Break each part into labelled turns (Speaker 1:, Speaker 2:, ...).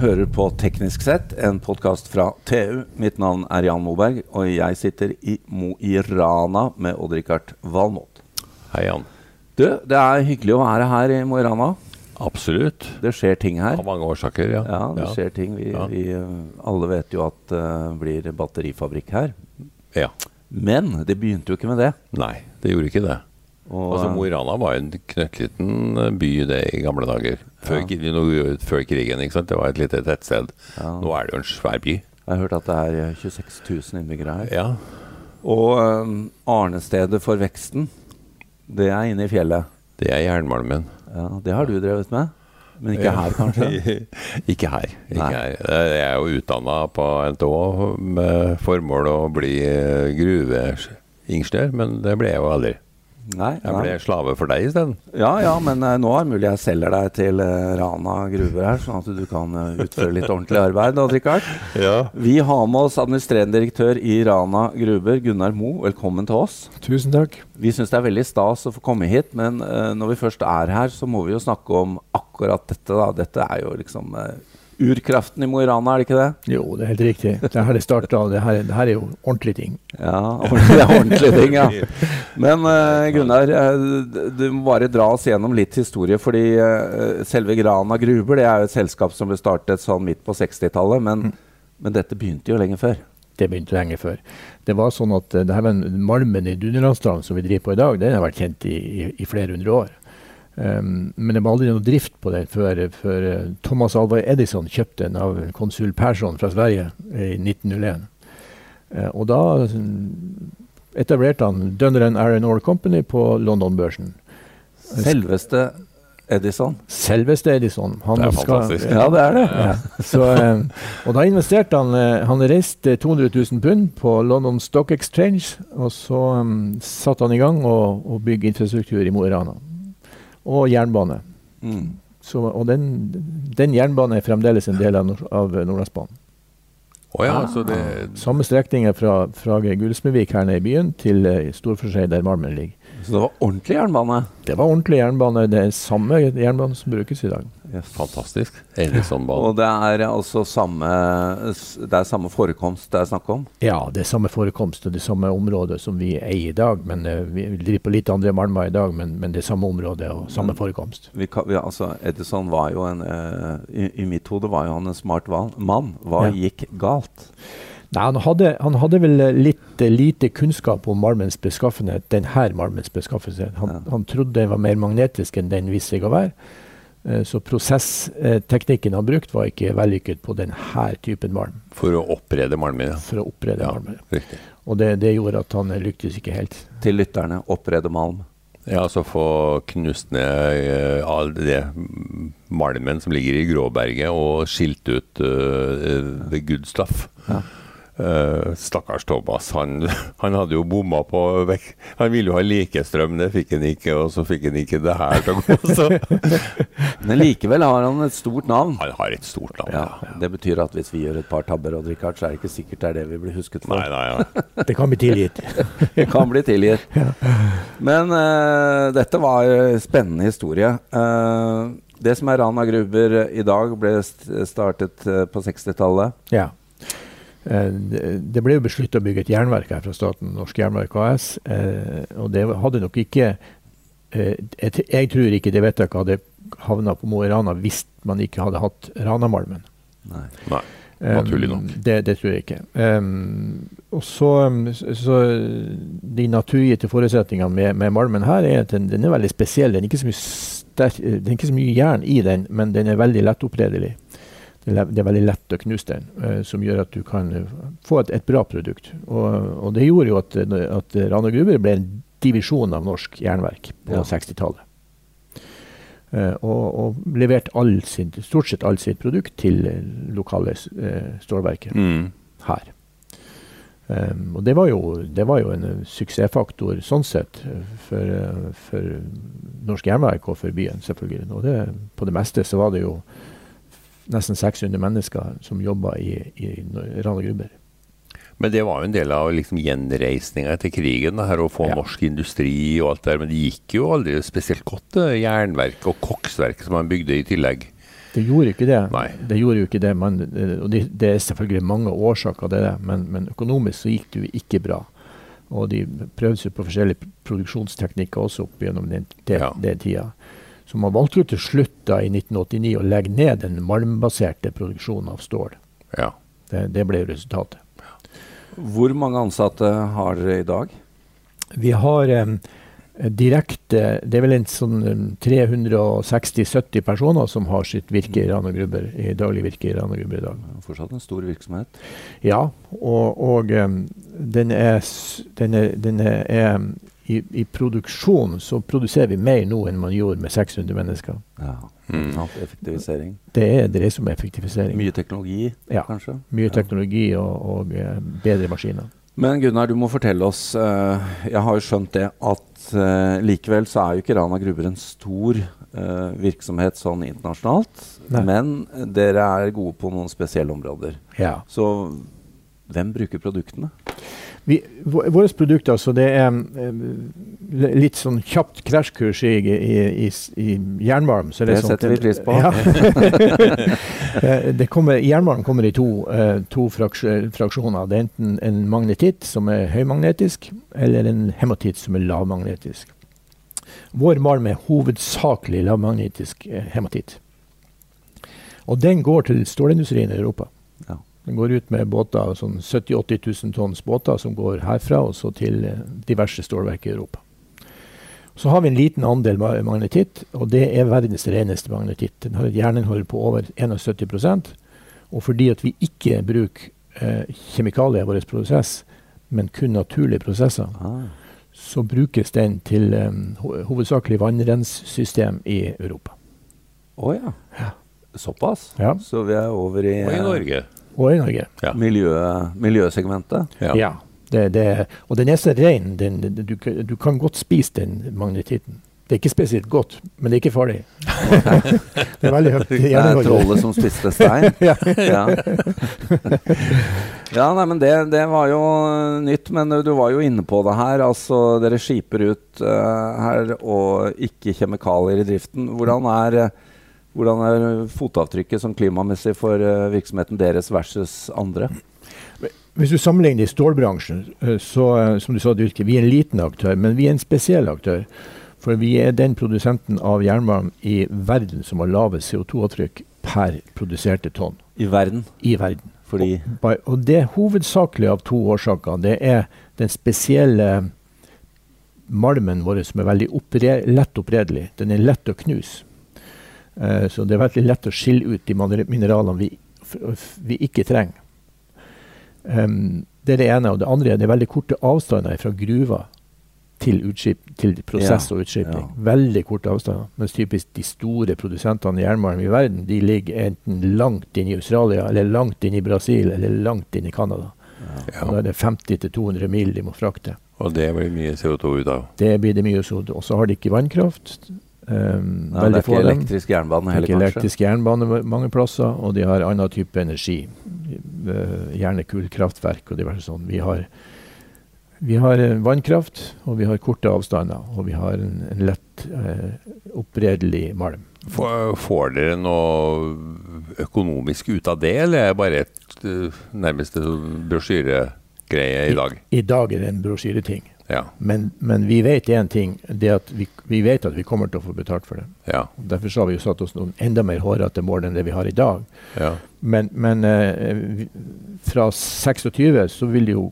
Speaker 1: hører på Teknisk sett, en podkast fra TU. Mitt navn er Jan Moberg, og jeg sitter i Mo i Rana med Odd-Rikard Valmot.
Speaker 2: Hei, Jan.
Speaker 1: Du, det er hyggelig å være her i Mo i Rana.
Speaker 2: Absolutt.
Speaker 1: Det skjer ting her.
Speaker 2: Av mange årsaker, ja.
Speaker 1: Ja, det skjer ting. Vi,
Speaker 2: Ja.
Speaker 1: vi, eh, alle vet jo at det blir batterifabrikk her.
Speaker 2: Ja.
Speaker 1: Men det begynte jo ikke med det.
Speaker 2: Nei, det gjorde ikke det.
Speaker 1: Og, eh,
Speaker 2: Altså, Mo i Rana var jo en knøttliten eh, by det i gamle dager. Før, kri- no, før krigen, ikke sant. Det var et lite tettsted. Nå er det jo en svær by.
Speaker 1: jeg har hørt at det er eh, 26 000 innbyggere her.
Speaker 2: Ja.
Speaker 1: Og eh, arnestedet for veksten, det er inne i fjellet.
Speaker 2: Det er jernmalmen.
Speaker 1: Ja, Det har du drevet med, men ikke her, kanskje?
Speaker 2: ikke her. Ikke
Speaker 1: Nei.
Speaker 2: her. Eh, Jeg er jo utdanna på NTH med formål å bli eh, gruveingeniør, men det ble jeg jo aldri.
Speaker 1: Nei,
Speaker 2: Jeg
Speaker 1: nei.
Speaker 2: ble slave for deg isteden.
Speaker 1: Ja, ja, men eh, nå er det mulig jeg selger deg til eh, Rana gruver her, sånn at du kan eh, utføre litt ordentlig arbeid. Odd Rikard.
Speaker 2: Ja.
Speaker 1: Vi har med oss administrerende direktør i Rana gruver, Gunnar Mo. Velkommen til oss.
Speaker 3: Tusen takk.
Speaker 1: Vi syns det er veldig stas å få komme hit, men eh, når vi først er her, så må vi jo snakke om akkurat dette. da. Dette er jo liksom eh, urkraften i Mo i Rana, er det ikke det?
Speaker 3: Jo, det er helt riktig. Det er her det starta. Det, her- det her er jo ordentlige ting.
Speaker 1: Ja, ordentlig, det er ordentlige ting, ja. Men eh, Gunnar, eh, d- du må bare dra oss gjennom litt historie. Fordi eh, selve Grana Gruber det er jo et selskap som ble startet sånn midt på 60-tallet. Men, men dette begynte jo lenge før.
Speaker 3: Det begynte lenge før. Det var sånn at eh, det her med malmen i Dunderlandsdalen som vi driver på i dag, den har vært kjent i, i, i flere hundre år. Um, men det var aldri noe drift på den før, før eh, Thomas Alvar Edison kjøpte den av konsul Persson fra Sverige i 1901. Eh, og da mm, etablerte han Dunder and Iron Ore Company på London-børsen.
Speaker 1: Selveste Edison.
Speaker 3: Selveste Edison. Han
Speaker 2: Det er
Speaker 3: skal-
Speaker 2: fantastisk.
Speaker 1: Ja, det er det.
Speaker 3: Ja. Så, eh, og da investerte han eh, Han reiste 200 000 pund på London Stock Exchange, og så um, satte han i gang og, og bygge infrastruktur i Mo i Rana. Og jernbane.
Speaker 1: Mm.
Speaker 3: Så, og den, den jernbanen er fremdeles en del av, Nord av Nordlandsbanen.
Speaker 2: Å
Speaker 1: Ah.
Speaker 2: ja, så det,
Speaker 3: Samme strekning er fra, fra Gullsmedvik her nede i byen til eh, Storforskjei, der malmen ligger.
Speaker 1: Så det var ordentlig jernbane.
Speaker 3: Det var ordentlig jernbane. Det er samme jernbane som brukes i dag.
Speaker 2: Fantastisk. sånn Edisonbanen.
Speaker 1: Og det er altså samme, s- det er samme forekomst det er snakk om.
Speaker 3: Ja, det er samme forekomst og det samme området som vi eier i dag. men eh, Vi vi driver på litt andre malmer i dag, men, men det er samme område og samme forekomst.
Speaker 1: Vi kan, vi, altså Edison var jo en eh, i, I mitt hode var jo han en smart val, mann. Hva
Speaker 3: Ja.
Speaker 1: gikk galt?
Speaker 3: Nei, han hadde, han hadde vel eh, litt eh, lite kunnskap om malmens beskaffenhet, denne malmens beskaffenhet. Han,
Speaker 1: Ja.
Speaker 3: han trodde den var mer magnetisk enn den viste seg å være. Eh, Så prosessteknikken han brukte, var ikke vellykket på denne typen malm
Speaker 2: For å opprede malmen, ja.
Speaker 3: for å opprede
Speaker 2: Ja.
Speaker 3: malmer.
Speaker 2: Riktig.
Speaker 3: Og det, det gjorde at han eh, lyktes ikke helt.
Speaker 1: til lytterne opprede malm.
Speaker 2: Ja, altså få knust ned eh, all det mm, malmen som ligger i Gråberget, og skilt ut eh, the good stuff.
Speaker 1: Ja.
Speaker 2: Eh, stakkars Thomas, han, han hadde jo bomma på vekk. Han ville jo ha likestrøm, det fikk han ikke, og så fikk han ikke det her til å gå. Så.
Speaker 1: Men likevel har han et stort navn.
Speaker 2: Han har et stort navn.
Speaker 1: Ja, det betyr at hvis vi gjør et par tabber, og Richard, så er det ikke sikkert det er det vi blir husket for.
Speaker 2: Nei, nei, ja.
Speaker 3: Det kan bli tilgitt.
Speaker 1: Det kan bli tilgitt. Men eh, dette var eh, spennende historie. Eh, det som er Rana Gruber i dag, ble st startet eh, på 60-tallet.
Speaker 3: Ja. Eh, Det det ble jo besluttet å bygge et jernverk her fra staten, Norsk Jernverk AS. eh, Og det hadde nok ikke eh, Jeg t- jeg tror ikke det vedtaket hadde havna på Mo i Rana hvis man ikke hadde hatt Ranamalmen.
Speaker 1: Nei.
Speaker 2: nei.
Speaker 3: Eh,
Speaker 2: Naturlig nok.
Speaker 3: Det, det tror jeg ikke. Eh, og så, eh, så- så De naturgitte forutsetningene med, med malmen her er at den, den er veldig spesiell. Den er ikke så mye sterk, det er ikke så mye jern i den, men den er veldig lett oppredelig. Det er, le- det er veldig lett å knuse den, eh, som gjør at du kan eh, få et, et bra produkt. Og, og det gjorde jo at, eh, at Rana Gruber ble en divisjon av norsk jernverk på
Speaker 1: Ja.
Speaker 3: 60-tallet. Eh, og, og leverte all sin, stort sett all sitt produkt til eh, lokale eh, stålverket
Speaker 2: Mm.
Speaker 3: her. Ehm, og det var, jo, det var jo en eh, suksessfaktor sånn sett eh, for, eh, for norsk jernverk og for byen, selvfølgelig. Og det, på det meste så var det jo nesten 600 mennesker som jobba i, i Nor- Rana Gruber.
Speaker 2: Men det var jo en del av liksom gjenreisninga etter krigen, det her å få
Speaker 3: Ja.
Speaker 2: norsk industri og alt det der. Men det gikk jo aldri spesielt godt, det jernverket og koksverket som man bygde i tillegg.
Speaker 3: Det gjorde ikke det.
Speaker 2: Nei.
Speaker 3: Det gjorde jo ikke det, men, eh, og det, det er selvfølgelig mange årsaker til det, men, men økonomisk så gikk det jo ikke bra. Og de prøvde seg på forskjellige produksjonsteknikker også opp gjennom den, det,
Speaker 2: Ja.
Speaker 3: det tida. Så man valgte jo til slutt da i 1989 å legge ned den malmbaserte produksjonen av stål.
Speaker 2: Ja.
Speaker 3: Det, det ble jo resultatet.
Speaker 1: Hvor mange ansatte har dere i dag?
Speaker 3: Vi har em, direkte Det er vel en sånn em, 360-70 personer som har sitt virke i Rana Gruber, i daglig virke i Rana Gruber i dag.
Speaker 1: Fortsatt en stor virksomhet.
Speaker 3: Ja, og, og em, den er, s- den er, den er em, i, I produksjon så produserer vi mer nå enn man gjorde med 600 mennesker.
Speaker 1: Ja,
Speaker 2: Mm.
Speaker 1: sant, Effektivisering.
Speaker 3: Det er det som er effektivisering.
Speaker 1: Mye teknologi,
Speaker 3: Ja.
Speaker 1: kanskje?
Speaker 3: Mye teknologi og, og eh, bedre maskiner.
Speaker 1: Men Gunnar, du må fortelle oss eh, Jeg har jo skjønt det at eh, likevel så er jo ikke Rana Gruber en stor eh, virksomhet sånn internasjonalt.
Speaker 3: Nei.
Speaker 1: Men dere er gode på noen spesielle områder.
Speaker 3: Ja.
Speaker 1: Så hvem bruker produktene?
Speaker 3: Vi, vå- våre produkter, altså det er eh, li- litt sånn kjapt krasjkurs i, i, i, s- i jernmalm. Så er
Speaker 1: Det
Speaker 3: sånn at
Speaker 1: setter vi pris på.
Speaker 3: Ja. Eh, det kommer, jernmalm kommer i to, eh, to fraks fraksjoner. Det er enten en magnetitt som er høymagnetisk, eller en hematitt som er lavmagnetisk. Vår malm er hovedsakelig lavmagnetisk eh, hematitt. Og den går til stålindustrien i Europa.
Speaker 1: Ja.
Speaker 3: Den går ut med båter, sånn 70 000-80 000 tonns båter som går herfra og så til eh, diverse stålverk i Europa. Så har vi en liten andel ma- magnetitt, og det er verdens reneste magnetitt. Den har et jerninnhold på over 71 og fordi at vi ikke bruker eh, kjemikalier i vår prosess, men kun naturlige prosesser,
Speaker 1: Ah,
Speaker 3: så brukes den til eh, ho- hovedsakelig vannrenssystem i Europa.
Speaker 1: Å ja. Såpass?
Speaker 3: Ja.
Speaker 1: Så vi er over i,
Speaker 2: Og i Norge.
Speaker 3: Og i Norge.
Speaker 1: eh, Miljø, miljøsegmentet.
Speaker 2: Ja.
Speaker 3: Ja. Det, det, og den er så ren. Den, den- du, kan- du kan godt spise den magnetitten. Det er ikke spesielt godt, men det er ikke farlig. det er veldig høyt.
Speaker 1: Det er eh, trollet som spiste stein.
Speaker 3: Ja.
Speaker 1: ja. ja, nei, men det, det var jo eh, nytt, men eh, du var jo inne på det her. Altså, dere skiper ut eh, her, og ikke kjemikalier i driften. Hvordan er, eh, hvordan er fotavtrykket sånn klimamessig for eh, virksomheten deres versus andre?
Speaker 3: Hvis du sammenligner i stålbransjen, eh, så eh, som du sa, Dyrke, vi er en liten aktør, men vi er en spesiell aktør. For vi er den produsenten av jernmalm i verden som har lavest CO2-avtrykk per produserte tonn
Speaker 1: I verden,
Speaker 3: i verden.
Speaker 1: fordi
Speaker 3: Ba- Og det er hovedsakelig av to årsaker. Det er den spesielle malmen vår som er veldig oppre- lett oppredelig. Den er lett å knuse. Eh, så det er veldig lett å skille ut de manere- mineralene vi, f f vi ikke trenger. Em, det er det ene. Og det andre er det er veldig korte avstander fra gruva til, utskip, til prosess
Speaker 1: Ja,
Speaker 3: og utskipning.
Speaker 1: ja.
Speaker 3: Veldig korte avstander. Mens typisk de store produsentene i jernmalm i verden de ligger enten langt inn i Australia, eller langt inn i Brasil, eller langt inn i Canada. Og Da
Speaker 2: ja.
Speaker 3: er det 50-200 mil de må frakte.
Speaker 2: Og det blir mye CO2 ut av.
Speaker 3: Det blir det mye sod. Og så har de ikke vannkraft. Um,
Speaker 1: Nei, det er ikke elektrisk jernbane
Speaker 3: Ikke
Speaker 1: heller, kanskje?
Speaker 3: elektrisk jernbane ma- mange plasser, og de har annen type energi. Eh, Gjerne kullkraftverk og diverse sånn. Vi har, vi har eh, vannkraft, og vi har korte avstander. Og vi har en, en lett eh, oppredelig malm.
Speaker 2: Får, får dere noe økonomisk ut av det, eller er det bare et eh, nærmest en sånn brosjyregreie i dag?
Speaker 3: I dag er det en brosjyreting.
Speaker 2: Ja.
Speaker 3: Men, men vi vet én ting. Det er at vi, vi vet at vi kommer til å få betalt for det.
Speaker 2: Ja.
Speaker 3: Derfor så har vi jo satt oss noen enda mer hårete mål enn det vi har i dag.
Speaker 2: ja.
Speaker 3: Men, men eh, vi- fra 26 så vil jo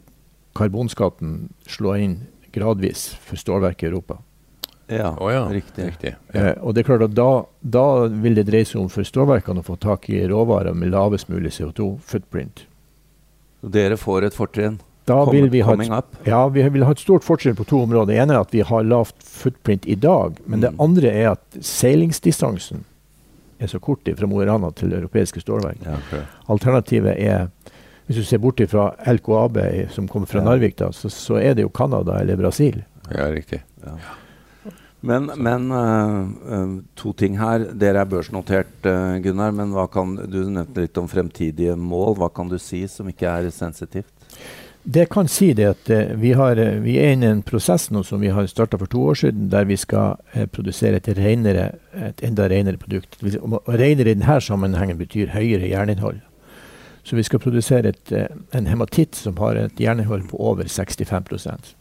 Speaker 3: karbonskatten slå inn gradvis for stålverket i Europa.
Speaker 1: Ja,
Speaker 2: Å ja.
Speaker 1: riktig.
Speaker 2: Riktig. Ja.
Speaker 3: Eh, og det er klart at da, da vil det dreie seg om for stålverkene å få tak i råvarer med lavest mulig CO2-footprint.
Speaker 1: Så Dere får et fortrinn.
Speaker 3: Da
Speaker 1: Kom-
Speaker 3: vil vi ha
Speaker 1: coming
Speaker 3: et,
Speaker 1: up.
Speaker 3: ja, vi vil ha et stort forskjell på to områder. Det ene er at vi har lavt footprint i dag. Men det
Speaker 1: Mm.
Speaker 3: andre er at seilingsdistansen er så kort fra Mo i Rana til europeiske stålverk.
Speaker 1: Ja.
Speaker 3: Alternativet er Hvis du ser bort fra LKAB i- eh, som kommer fra
Speaker 1: Ja.
Speaker 3: Narvik, da, så, så er det jo Canada eller Brasil.
Speaker 2: ja, riktig.
Speaker 1: Men, men eh, eh, to ting her. Dere er børsnotert, eh, Gunnar. Men hva kan, du nevnte litt om fremtidige mål. Hva kan du si som ikke er sensitivt?
Speaker 3: det jeg kan si, det er at eh, vi, har, eh, vi er inne i en prosess nå som vi har starta for to år siden, der vi skal eh, produsere et, renere, et enda renere produkt. Det vil si- Og og renere i denne sammenhengen betyr høyere jerninnhold. Så vi skal produsere et, eh, en hematitt som har et jerninnhold på over 65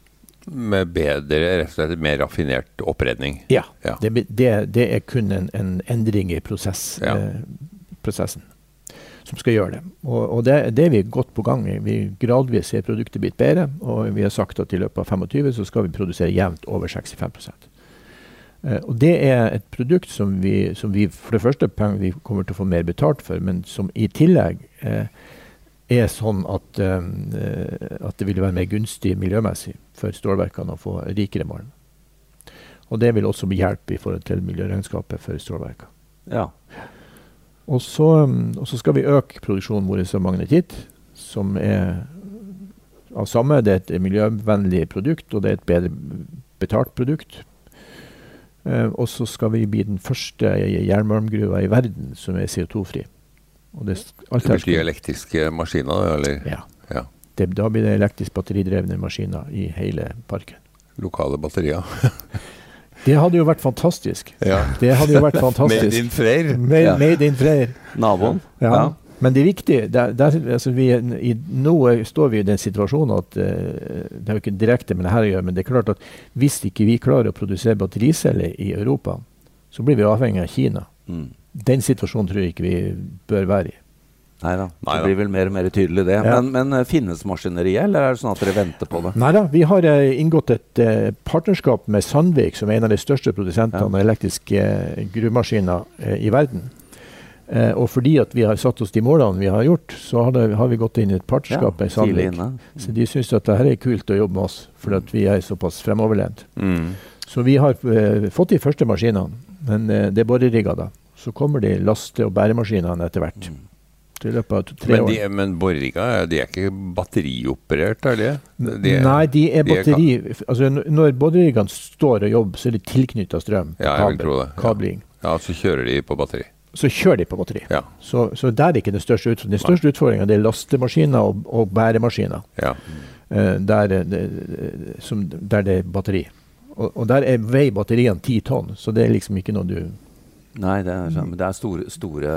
Speaker 2: Med bedre, rett og slett mer raffinert oppredning.
Speaker 3: Ja.
Speaker 2: Ja.
Speaker 3: Det, be- det, det er kun en, en endring i prosess,
Speaker 2: Ja.
Speaker 3: eh, prosessen som skal gjøre det. Og, og det, det er vi godt på gang med. Vi gradvis ser produktet blitt bedre, og vi har sagt at i løpet av 25 så skal vi produsere jevnt over 65 Eh, og det er et produkt som vi, som vi for det første peng- vi kommer til å få mer betalt for, men som i tillegg eh, er sånn at, eh, at det vil være mer gunstig miljømessig for stålverkene å få rikere malm. Og det vil også hjelpe i forhold til miljøregnskapet for stålverkene.
Speaker 1: Ja.
Speaker 3: Og så, um, og så skal vi øke produksjonen vår av magnetitt, som er av samme. Det er et miljøvennlig produkt, og det er et bedre betalt produkt. Eh, og så skal vi bli den første jernmalmgruva i verden som er CO2-fri. Og det, sk- alt
Speaker 2: Det
Speaker 3: her
Speaker 2: betyr
Speaker 3: skal-
Speaker 2: elektriske maskiner, da, eller
Speaker 3: Ja.
Speaker 2: Ja.
Speaker 3: Det, da blir det elektrisk batteridrevne maskiner i hele parken.
Speaker 2: lokale batterier.
Speaker 3: Det hadde jo vært fantastisk.
Speaker 2: Ja.
Speaker 3: Det hadde jo vært fantastisk.
Speaker 2: Made in Freyr.
Speaker 3: Made,
Speaker 1: Ja.
Speaker 3: made in Freyr.
Speaker 1: Naboen?
Speaker 3: Ja. Men det er viktig. Der, der, altså vi, i, nå er- står vi i den situasjonen at eh, Det er jo ikke direkte med det her å gjøre, men det er klart at hvis ikke vi klarer å produsere battericeller i Europa, så blir vi avhengig av Kina.
Speaker 1: Mm.
Speaker 3: Den situasjonen tror jeg ikke vi bør være i.
Speaker 1: Nei da. Det
Speaker 2: Neida.
Speaker 1: blir vel mer og mer tydelig, det.
Speaker 3: Ja.
Speaker 1: Men, men eh, finnes maskineriet, eller er det sånn at dere venter på det?
Speaker 3: Nei da, vi har eh, inngått et eh, partnerskap med Sandvik, som er en av de største produsentene
Speaker 1: Ja.
Speaker 3: av elektriske eh, gruvemaskiner eh, i verden. Eh, og fordi at vi har satt oss de målene vi har gjort, så har, det, har vi gått inn i et partnerskap med
Speaker 1: tidlig
Speaker 3: Sandvik.
Speaker 1: inne.
Speaker 3: Så de syns at det her er kult å jobbe med oss, fordi at vi er såpass fremoverlent.
Speaker 2: Mm.
Speaker 3: Så vi har eh, fått de første maskinene, men eh, det er borerigger da. Så kommer de laste- og bæremaskinene etter hvert. I løpet av to- tre
Speaker 2: Mm. Men,
Speaker 3: år.
Speaker 2: de, men borriga, de er ikke batterioperert, er de? de
Speaker 3: Nei, de er
Speaker 2: de er ka-
Speaker 3: batteri... altså, n- når boreriggene står og jobber, så er de tilknytta strøm.
Speaker 2: Ja, jeg vil tro det, ja.
Speaker 3: Kabling.
Speaker 2: Ja, så kjører de på batteri.
Speaker 3: Så kjører de på batteri.
Speaker 2: Ja.
Speaker 3: Så, så der er ikke den største utfordringen. Den største utfordringen er lastemaskiner og, og bæremaskiner,
Speaker 2: ja.
Speaker 3: eh, der, eh, det- som, der det er batteri. Og, og der er veier batteriene ti tonn, så det er liksom ikke noe du
Speaker 1: Nei, det er, sånn- men det er store, store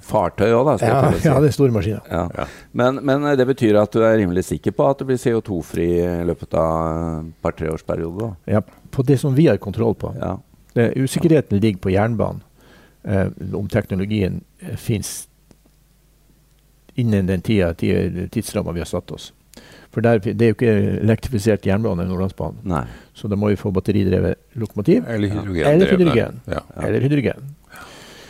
Speaker 1: fartøy òg, da. skal
Speaker 3: Ja,
Speaker 1: jeg til å si.
Speaker 3: det er store maskiner.
Speaker 1: Ja.
Speaker 2: Ja.
Speaker 1: Men, men eh, det betyr at du er rimelig sikker på at du blir CO2-fri i løpet av et par-tre års periode? da?
Speaker 3: Ja, på det som vi har kontroll på.
Speaker 1: Ja.
Speaker 3: Det, usikkerheten ligger på jernbanen. Eh, om teknologien eh, fins innen den tida, ti- tidsramma vi har satt oss. For der, det er jo ikke elektrifisert jernbane i Nordlandsbanen,
Speaker 1: Nei.
Speaker 3: så da må vi få batteridrevet lokomotiv
Speaker 2: Eller hydrogen.
Speaker 3: Eller hydrogen.
Speaker 2: Ja.
Speaker 1: Ja.
Speaker 3: eller hydrogen.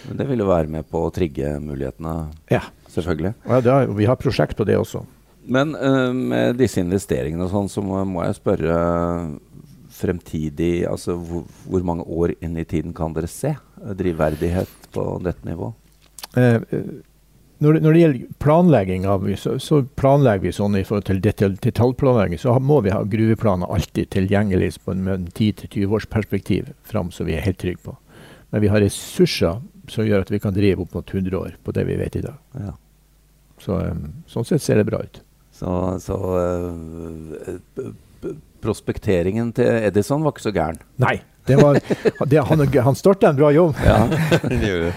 Speaker 1: Men det vil jo være med på å trigge mulighetene,
Speaker 3: Ja,
Speaker 1: selvfølgelig.
Speaker 3: og ja, det har- vi har prosjekt på det også.
Speaker 1: Men eh, med disse investeringene og sånn, så må, må jeg spørre eh, fremtidig Altså hvor, hvor mange år inn i tiden kan dere se eh, drivverdighet på dette nivået?
Speaker 3: Eh, eh, når, det, når det gjelder planlegging, av, så, så planlegger vi sånn i forhold til detalj, detaljplanlegging, så ha- må vi ha gruveplaner alltid tilgjengelig på en, med en 10-20 års perspektiv fram, så vi er helt trygge på. Men vi har ressurser som gjør at vi kan drive opp mot 100 år på det vi vet i dag.
Speaker 1: Ja.
Speaker 3: Så, eh, sånn sett ser det bra ut.
Speaker 1: Så, så eh, p- p- prospekteringen til Edison var ikke så gæren.
Speaker 3: Nei! Det var, det, han han starta en bra jobb.
Speaker 2: Det gjør det.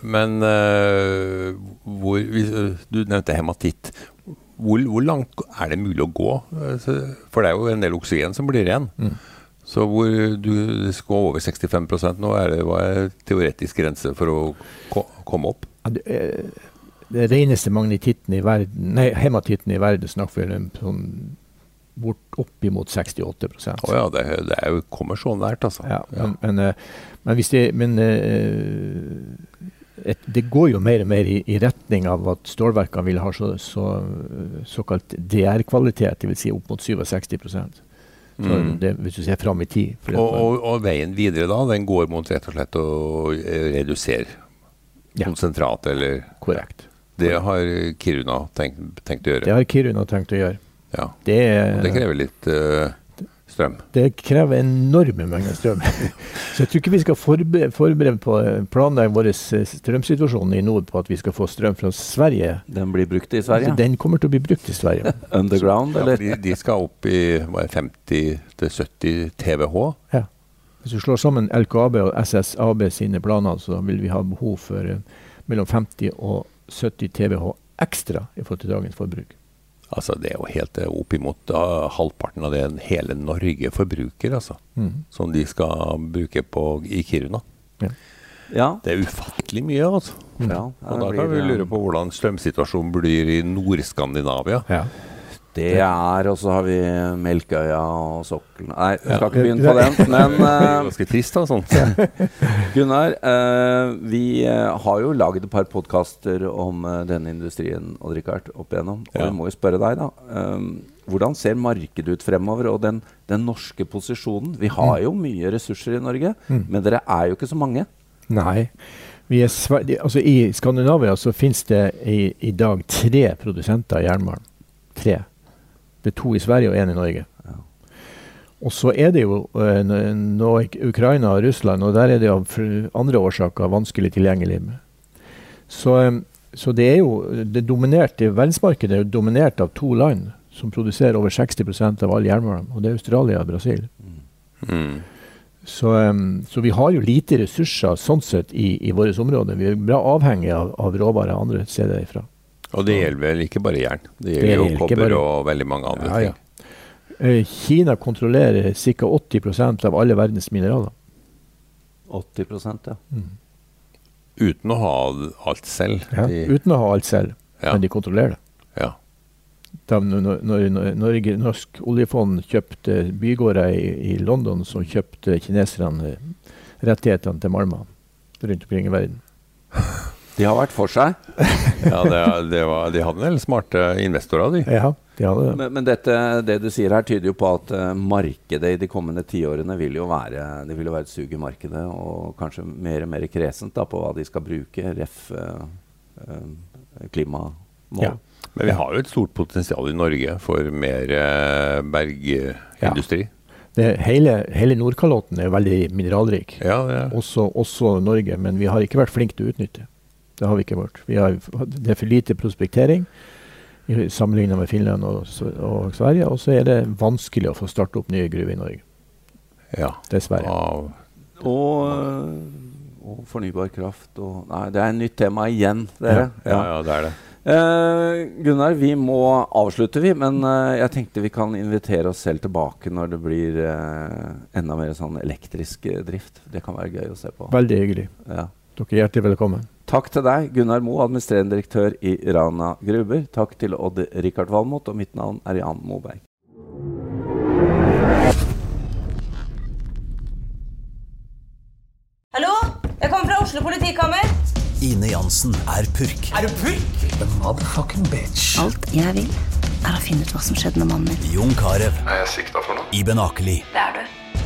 Speaker 2: Men eh, hvor, hvis, eh, du nevnte hematitt. Hvor, hvor langt er det mulig å gå? Eh, så- For det er jo en del oksygen som blir igjen.
Speaker 3: Mm.
Speaker 2: Så hvor du det skal over 65 nå, er det hva er teoretisk grense for å ko komme opp?
Speaker 3: Ja, det, eh, det reneste magnetitten i verden, nei, hematitten i verden snakker vi om sånn bort oppimot 68
Speaker 2: Å ja, det, er- det er jo, kommer så nært, altså.
Speaker 3: Ja, men, men, eh, men hvis det Men eh, et, det går jo mer og mer i, i retning av at stålverkene vil ha så, så, såkalt DR-kvalitet, dvs. Si opp mot 67 så
Speaker 2: Mm.
Speaker 3: det, Hvis du ser fram i tid. fordi at
Speaker 2: Og,
Speaker 3: man-
Speaker 2: og, og veien videre da, den går mot rett og slett å eh, redusere
Speaker 3: Ja.
Speaker 2: konsentrat, eller
Speaker 3: korrekt.
Speaker 2: Det har Kiruna tenkt, tenkt å
Speaker 3: Det
Speaker 2: gjøre.
Speaker 3: har Kiruna tenkt å gjøre.
Speaker 2: Ja.
Speaker 3: Det, er-
Speaker 2: Og det krever litt eh, strøm.
Speaker 3: Det krever enorme mengder strøm. Så jeg tror ikke vi skal forbe- forberede på planlegge vår strømsituasjon i nord på at vi skal få strøm fra Sverige.
Speaker 1: Den blir brukt i
Speaker 3: Så
Speaker 1: Sverige?
Speaker 3: Den kommer til å bli brukt i Sverige.
Speaker 1: Underground,
Speaker 2: Ja,
Speaker 1: eller?
Speaker 2: de, de skal opp i hva er det, 50-70 TWh.
Speaker 3: Ja. Hvis du slår sammen LKAB og SSAB sine planer, så vil vi ha behov for eh, mellom 50 og 70 TWh ekstra i forhold til dagens forbruk.
Speaker 2: Altså Det er jo helt eh, oppimot eh, halvparten av det hele Norge forbruker, altså.
Speaker 3: Mhm.
Speaker 2: Som de skal bruke på i Kiruna.
Speaker 1: Ja.
Speaker 2: Det er ufattelig mye, altså.
Speaker 1: ja
Speaker 2: Og da kan vi lure på hvordan strømsituasjonen blir i Nord-Skandinavia.
Speaker 3: Ja.
Speaker 1: Det er, og så har vi Melkøya og sokkelen Nei, vi skal ikke begynne på den. Men
Speaker 2: Det er
Speaker 1: eh,
Speaker 2: ganske trist, da. Sånn.
Speaker 1: Gunnar, eh, vi eh, har jo laget et par podkaster om eh, denne industrien og Richard, opp igjennom. Og
Speaker 2: Ja.
Speaker 1: vi må jo spørre deg, da. eh, hvordan ser markedet ut fremover, og den, den norske posisjonen? Vi har jo mye ressurser i Norge, men dere er jo ikke så mange.
Speaker 3: Nei. Vi er svæ- de- altså I Skandinavia så finnes det i, i dag tre produsenter av jernmalm. Tre. Det er to i Sverige og én i Norge. Og så er det jo eh, nå- nå ik- Ukraina og Russland, og der er det av fr- andre årsaker vanskelig tilgjengelig. Så, eh, så det er jo det dominerte verdensmarkedet er jo dominert av to land som produserer over 60 av all jernmalm, og det er Australia og Brasil.
Speaker 2: Mm.
Speaker 3: Så, um, så vi har jo lite ressurser sånn sett i, i vårt område. Vi er bra avhengig av, av råvarer andre steder ifra.
Speaker 2: Og det gjelder vel ikke bare jern. Det
Speaker 3: Det
Speaker 2: gjelder jo
Speaker 3: gjelder ikke
Speaker 2: kobber
Speaker 3: bare-
Speaker 2: og veldig mange andre
Speaker 3: Ja, ja. Eh, Kina kontrollerer ca. 80 av alle verdens mineraler.
Speaker 1: 80 ja.
Speaker 2: ting. Uten å ha alt selv. De,
Speaker 3: Uten å ha alt selv,
Speaker 2: Ja.
Speaker 3: men de kontrollerer det.
Speaker 2: ja.
Speaker 3: Da når, når, når Norge, Norsk oljefond kjøpte bygårder i, i London, så kjøpte kineserne rettighetene til malmer rundt omkring i verden.
Speaker 1: De har vært for seg.
Speaker 2: ja det, det var, de hadde vel smarte investorer, de.
Speaker 3: Ja, de hadde det.
Speaker 1: Men, men dette, det du sier her, tyder jo på at eh, markedet i de kommende tiårene vil jo være Det vil jo være et sug i markedet, og kanskje mer og mer kresent da, på hva de skal bruke. Ref. eh, eh, klimamål.
Speaker 3: Ja.
Speaker 2: Men vi har jo et stort potensial i Norge for mer eh, bergindustri.
Speaker 3: Det, hele hele Nordkalotten er veldig mineralrik.
Speaker 2: Ja, det er-
Speaker 3: også, også Norge, men vi har ikke vært flinke til å utnytte. Det har vi ikke vært. Vi har, det er for lite prospektering i- sammenlignet med Finland og, S- og Sverige, og så er det vanskelig å få starte opp nye gruver i Norge.
Speaker 2: ja.
Speaker 3: Dessverre.
Speaker 2: Av-
Speaker 1: Og, eh, og fornybar kraft og Nei, det er et nytt tema igjen, dere.
Speaker 2: ja, ja, det er det.
Speaker 1: Eh, Gunnar, vi må avslutte, vi. Men eh, jeg tenkte vi kan invitere oss selv tilbake når det blir eh, enda mer sånn elektrisk eh, drift. Det kan være gøy å se på.
Speaker 3: Veldig hyggelig.
Speaker 1: Ja.
Speaker 3: Dere er hjertelig velkommen.
Speaker 1: Takk til deg, Gunnar Moe, administrerende direktør i Rana Gruber. Takk til Odd-Rikard Valmot, og mitt navn er Jan Moberg.
Speaker 4: Hallo? Jeg kommer fra Oslo politikammer.
Speaker 5: Ine Jansen er purk. Er du purk? Motherfucking bitch.
Speaker 6: Alt jeg vil, er å finne ut hva som skjedde med mannen min.
Speaker 5: Jon Carew,
Speaker 7: er jeg sikta for noe?
Speaker 5: Iben Akeli,
Speaker 6: Det er du.